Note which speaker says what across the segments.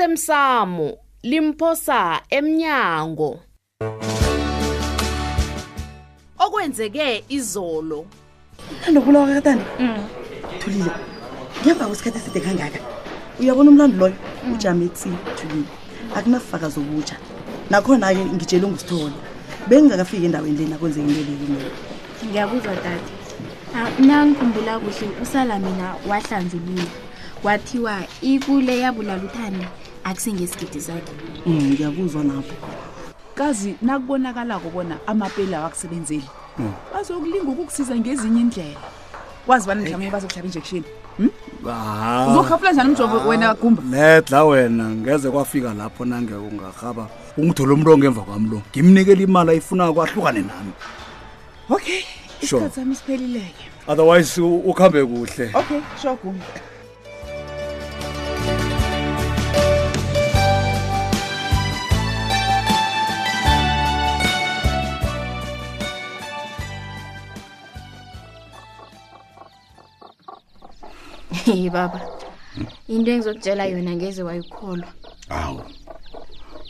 Speaker 1: osemsamo limphosa emnyango okwenzeke izolo
Speaker 2: andobulawa kakatandi thulile ngemva kwesikhathi eside kangaka uyabona umlando loyo ujame tsi thulile akunabufakazi obutsha nakhona-ke ngitshele ngusithole bengingakafiki endaweni lena kwenzeka into lekumele
Speaker 3: ngiyakuzwa dade nangikhumbula Ah, kuhle usala mina wahlanzulula wathiwa ikule yabulala uthandi akusengesigidi sakhe
Speaker 2: Mm, ngiyakuzwa napho
Speaker 4: kazi nakubonakalako bona amapeli awakusebenzeli bazokulinga ukukusiza ngezinye indlela kwazi bani mhlawumbe bazokuhlaba injection uzokhafula njani umjovo wena gumba
Speaker 5: ledla Ah, wena ngeze kwafika lapho nange ungarhaba ungithola umntu ongemva kwami lo ngimnikela imali ayifuna kwahlukane nami
Speaker 4: okay
Speaker 5: Sure.
Speaker 4: isikhathi sami siphelileke
Speaker 5: otherwise u- ukhambe kuhle
Speaker 4: okay sure gumba
Speaker 3: hey baba into engizokutshela yona ngeze wayikholwa
Speaker 6: awu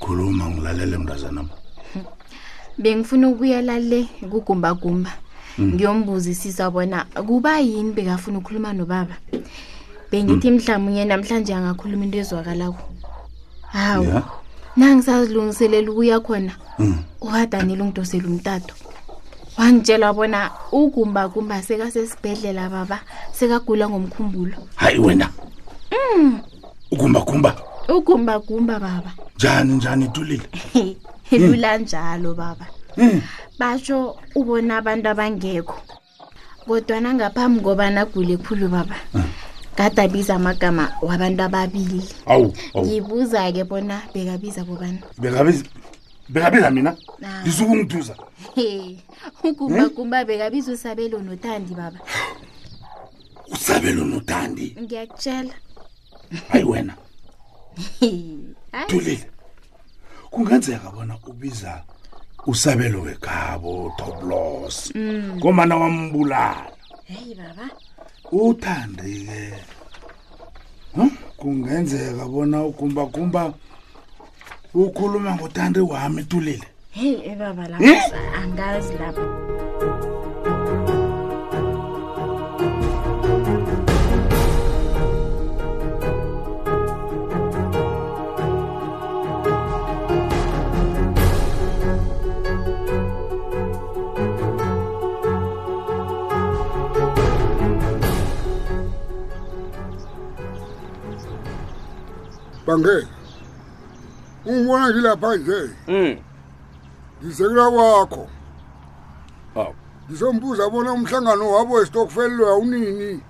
Speaker 6: khuluma ngilalele mntazanam
Speaker 3: bengifuna ukuyela le kugumbagumba ngiyombuzisisa bona kuba yini bekafuna ukukhuluma nobaba bengithi mhlawumunye namhlanje angakhuluma into ezwakalako hawu
Speaker 6: ya
Speaker 3: nangisazilungiselela ukuya khona uhadanile ungidosela umtato wangitshela bona ugumbagumba sekasesibhedlela baba sekagula ngomkhumbulo
Speaker 6: hayi wena ugumbagumba
Speaker 3: ugumbagumba baba
Speaker 6: njani njani tulile Mm.
Speaker 3: lula njalo baba basho ubona abantu abangekho kodwana ngaphambi kobana agule khulu baba ngadabiza amagama wabantu ababili
Speaker 6: awu awu
Speaker 3: ngibuza-ke bona bekabiza bobani
Speaker 6: bekabiza bekabiza mina
Speaker 3: Ah.
Speaker 6: ngisuke ungiduza
Speaker 3: He, ugumbagumba bekabiza usabelo nothandi baba
Speaker 6: usabelo notandi
Speaker 3: ngiyakutshela
Speaker 6: hayi wena
Speaker 3: Hayi,
Speaker 6: tulile kungenzeka bona ubiza usabelo wekabo toblos ngomana wambulala
Speaker 3: heyi baba
Speaker 6: uthandi-ke Hm? kungenzeka bona ugumbagumba ukhuluma ngothandi wami tulile
Speaker 3: heyi eh, baba lapha angazi lapha
Speaker 7: Bange. Ungibona ngilapha nje. Mm. Ngisekela kwakho.
Speaker 6: Awu.
Speaker 7: Ngizombuza bona umhlangano wabo westokfel lo awunini.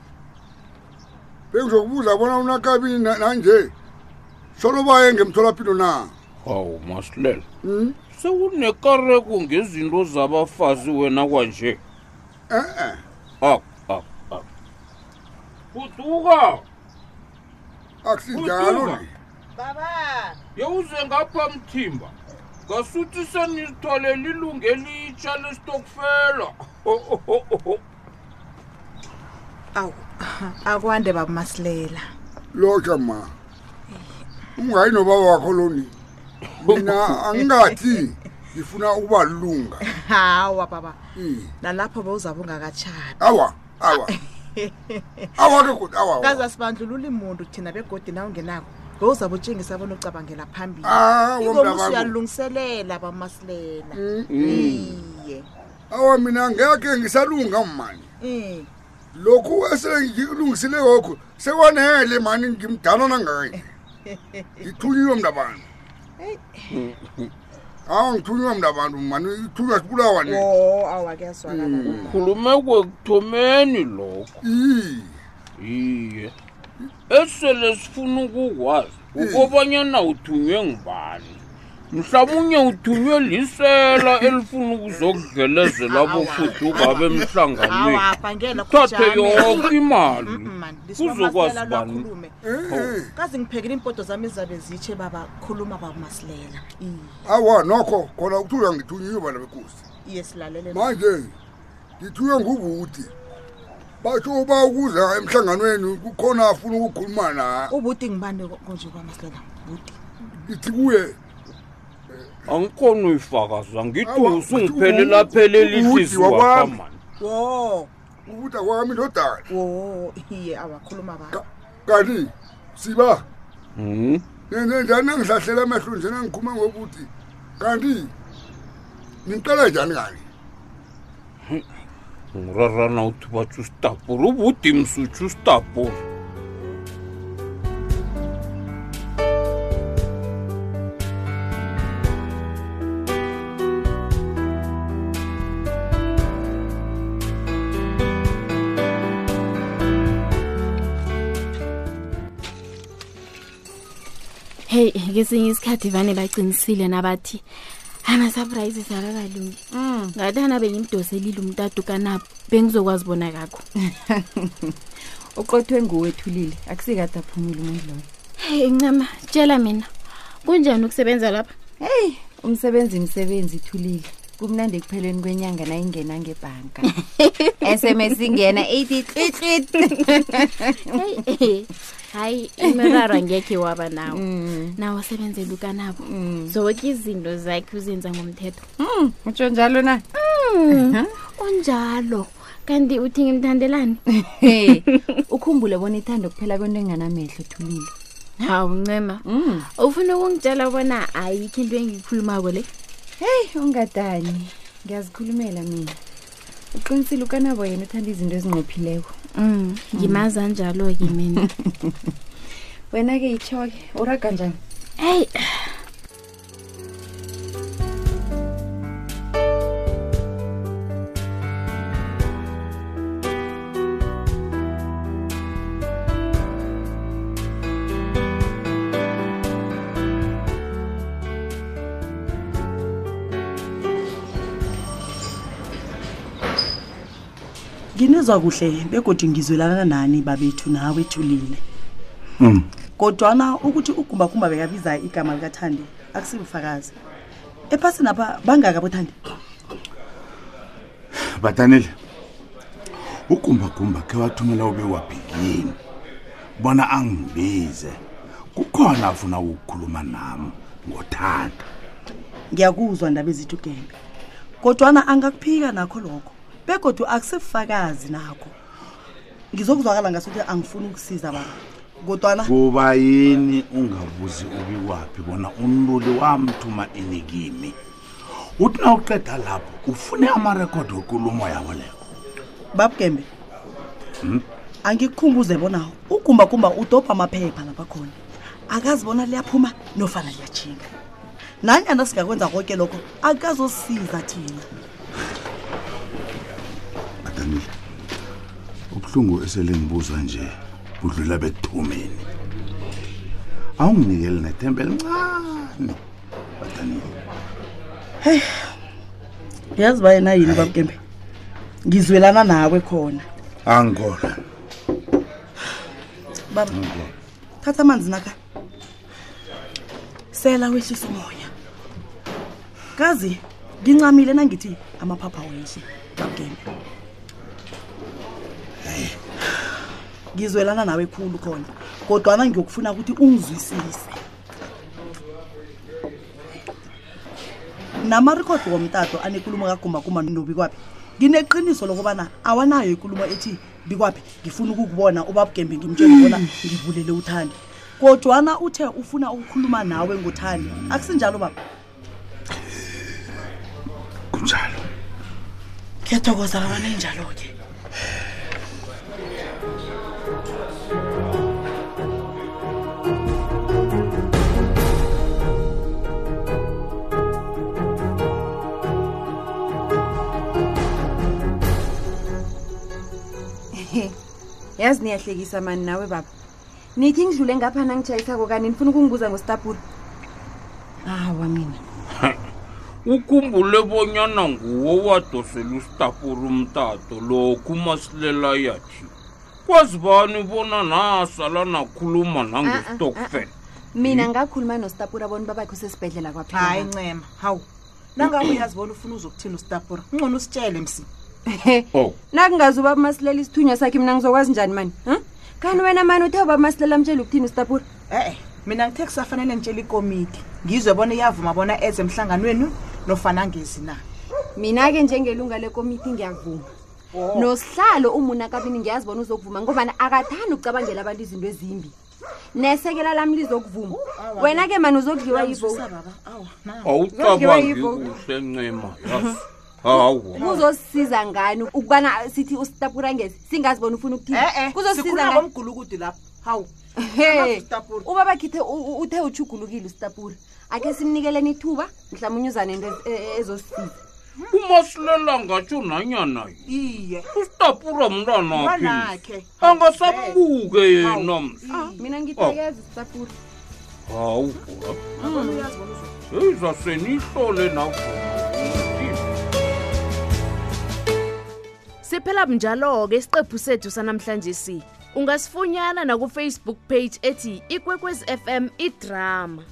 Speaker 7: Bengizokubuza bona unakabini na- nanje. Solo baye ngemtholapilo na.
Speaker 8: hawu masilela sewunekareko ngezinto zabafazi wena kwanje Ah,
Speaker 7: Eh eh.
Speaker 8: ak ak ak kuduka
Speaker 7: Akusinjalo
Speaker 8: Uduba.
Speaker 7: le.
Speaker 8: yewuze ngapha mthimba ngasuthi senithole lilunge elitsha lesitokfela
Speaker 4: awu akwande baba masilela
Speaker 7: Loja ma. Ungayi nobaba wakho loni. Mina angingathi ngifuna ukuba lunga.
Speaker 4: hawa baba
Speaker 7: Mm.
Speaker 4: nalapho bewuzabe ungakatshati
Speaker 7: Awa, awa. Awa ke kodwa awa. awa.
Speaker 4: kazi asibandlululi muntu thina begodi na ungenako bewuzabe utshengisa bona ucabangela phambili
Speaker 7: Ah,
Speaker 4: ingomuso
Speaker 7: womntakwami.
Speaker 4: uyalungiselela baba masilela iye
Speaker 7: Awa mina ngeke ngisalunga mani.
Speaker 4: um
Speaker 7: Lokhu esengilungisile lokho sekwanele mani ngimdala nangakanye. Ngithunywe mntabantu. Hawu ngithunywe mntabantu mani ithunywa sibulawa ne.
Speaker 4: o awakuyazwakala
Speaker 8: khulume kwekuthomeni lokho
Speaker 7: Yi.
Speaker 8: iye esele sifuna ukukwazi
Speaker 7: Eh.
Speaker 8: ukobanyana uthunywe ngubani mhlawumunye uthunywe lisela elifuna ukuzokudlelezela bofuduka bemhlanganweni
Speaker 4: awabhangela
Speaker 8: thathe yoke imali kuzokwazi bani
Speaker 7: Eh.
Speaker 4: kazi ngiphekela iimpoto zami ezizabe zitshe baba khuluma baba masilela Iye,
Speaker 7: Awa nokho khona ukuthunywa ngithunywe bana bekosi.
Speaker 4: iye silalele
Speaker 7: Manje ngithunywe ngubuthi. basho uba ukuza emhlanganweni kukhona afuna ukukhuluma na
Speaker 4: ubuti ngibande konje kwamasloka buti
Speaker 7: ngithi kuye
Speaker 8: angikhona uyifakaza ngithi
Speaker 7: Awa,
Speaker 8: usungiphelela phelela
Speaker 7: uthi
Speaker 8: ihliziyo
Speaker 7: wakwami.
Speaker 8: wakamani
Speaker 4: wo
Speaker 7: ukuthi akwami ndodana
Speaker 4: wo iye awakhuluma ba
Speaker 7: Ka- kanti siba
Speaker 8: Mhm.
Speaker 7: nenze njani nangihlahlela amehlo nje nangikhuluma ngokuthi kanti nimqala njani kani
Speaker 8: ngirarana uthi batsho usitapula ubude msutsho usitapula
Speaker 3: heyi ngesinye isikhathi vane bacinisile nabathi "Ah, ama-surprises akakalungi Mm. ngathana bengimdoselile umtatu kanabo bengizokwazi bona kakho
Speaker 9: uqothwe nguwethulile akusikade aphumile umuntu loyo
Speaker 3: heyi ncama tshela mina kunjani ukusebenza lapha
Speaker 9: heyi umsebenzi msebenzi ithulile kumnandi ekupheleni kwenyanga nayingena ngebhanka sms ingena eighty tlitlit
Speaker 3: heyi eh, hayi imiraro angekhe waba nawo nawo osebenzela ukanabo zonke izinto zakhe uzenza ngomthetho
Speaker 9: utsho njalo na
Speaker 3: unjalo kanti uthi ngimthandelani
Speaker 9: Hey, ukhumbule bona ithanda kuphela kwento enganamehlo ethulile
Speaker 3: hawu ncema ufuna ukungitshela bona ayikho into engiyikhulumako le
Speaker 9: heyi ungadani ngiyazikhulumela mina uqinisile ukanabo yena uthanda izinto ezinqophileko
Speaker 3: Mm, ngimaza njalo-ke mina
Speaker 9: wena-ke yitsho-ke uraga njani
Speaker 3: eyi
Speaker 2: nginizwa kuhle begodi ngizwelana nani babethu nawe ethulile kodwana ukuthi ugumbagumba bekabiza igama likathandi akusibufakazi ephasini apha bangaka bothandi
Speaker 6: batanile ugumbagumba khe wathumela ube waphi yini bona angibize kukhona afuna ukukhuluma nami ngothanda
Speaker 2: ngiyakuzwa ndaba ezithu gembe kodwana angakuphika nakho lokho begodu akusibufakazi nakho ngizokuzwakala ngasuthi angifuni ukusiza baba kodwana
Speaker 6: kuba yini ungabuzi ubiwaphi bona umluli wamthuma ini kimi uthi na uqeda lapho ufune amarekhodi wekulumo yabo leyo
Speaker 2: babugembe angikukhumbuze bonawo ugumbagumba udobha amaphepha lapha khona akazi bona liyaphuma nofana liyajhinga nanyana singakwenza konke lokho akazosiza thina
Speaker 6: batanile ubuhlungu eselingibuza nje budlula bekuthumeni awunginikeli nethemba elincane batanile
Speaker 2: yazi bayena yini babugembe ngizwelana nawe khona
Speaker 6: angikholwa
Speaker 2: baba thatha amanzi nakha sela wehlisa umoya kazi ngincamile nangithi amaphapha wehle babugembe ngizwelana nawe khulu khona kodwana ngiyokufuna ukuthi ungizwisise namarekhodi womtato anekulumo kagumbagumba nobikwaphi ngineqiniso lokubana awanayo ikulumo ethi bikwaphi ngifuna ukukubona ubabugembe ngimtshela ubona ngivulele uthandi kodwana uthe ufuna ukukhuluma nawe ngothandi akusinjalo baba
Speaker 6: kunjalo
Speaker 2: ngiyathokoza babanenjalo-ke
Speaker 9: yazi niyahlekisa mani nawe baba nithi ngidlule ngaphana ngitshayisako kani nifuna ukungibuza ngositapula hawa mina
Speaker 8: ukhumbule bonyana nguwo wadosela usitapura umtato lokhu umasilela yathi kwazi bani bona nasala nakhuluma nangestokfela
Speaker 9: mina ngakhuluma nostapura bona babakho sesibhedlela kwaphela
Speaker 4: hayi ncema hawu nangabe uyazi bona ufuna uzokuthini usitapura ungcono usitshele msi
Speaker 10: Oh.
Speaker 9: nakungazi ubaba masilela isithunywa sakhe mina ngizokwazi njani mani hm? kanti wena mani uthe ubaba masilela amtshela ukuthini usitapura
Speaker 11: e-e mina ngithe kusafanele ngitshela ikomiti ngizwe bona iyavuma bona eze emhlanganweni nofana angezi na
Speaker 9: mina-ke njengelunga lekomiti ngiyavuma nosihlalo umuna kabini ngiyazi bona uzokuvuma ngobana akathandi ukucabangela abantu izinto ezimbi nesekela lami lizokuvuma wena-ke mani uzokudliwa
Speaker 11: Uyangizwisa,
Speaker 9: yivote
Speaker 8: awucabangi kuhle ncema yazi hawa
Speaker 9: kuzosisiza ngani ukubana sithi usitapurangezi singazi bona ufuna ukuthini
Speaker 2: Eh,
Speaker 11: e-e Eh, sikhuluma ngomgulukudu lapho hawu
Speaker 9: He, ubaba khithe u- u- uthe uchugulukile usitapura akhe simnikeleni ithuba mhlawumunye uzane into ez- e- ezosisiza
Speaker 8: umasilela ngatsho nanyana ye.
Speaker 11: iye
Speaker 8: usitapura mntanaphi
Speaker 11: mwanakhe
Speaker 8: angasambuke yena
Speaker 9: Ah, mina ngithekeza isitapura
Speaker 8: hawu eiza seniyihlole navuma
Speaker 4: siphela bunjalo-ke isiqephu sethu sanamhlanje si ungasifunyana nakufacebook page ethi ikwekwezi fm idrama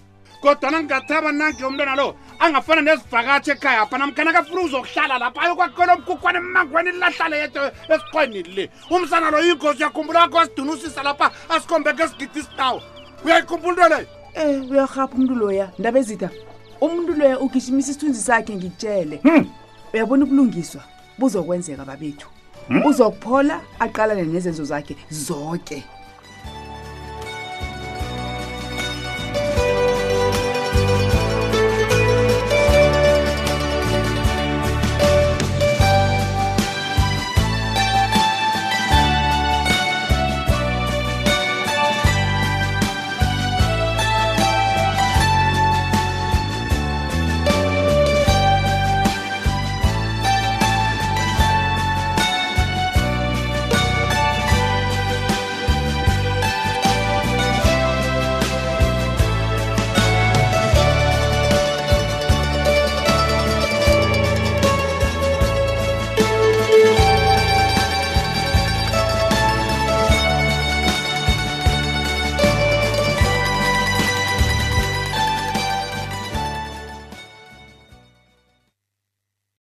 Speaker 6: kodwana ngingathaba nange umntwana lo angafana nezivakatshi ekhaya apha namkhana kafuna uzokuhlala lapha ayokwakhona omkhukhwana emmangweni lahlale yedwa esiqweni le umsana lo ingozi uyakhumbula akho asidunusisa lapha asikhombeke esigidi isinawo uyayikhumbula into leyo
Speaker 2: Eh uyarhapha umuntu loya ndaba ezida umuntu loya ugijimisa isithunzi sakhe ngikutshele uyabona ukulungiswa buzokwenzeka babethu uzokuphola aqalane nezenzo zakhe zonke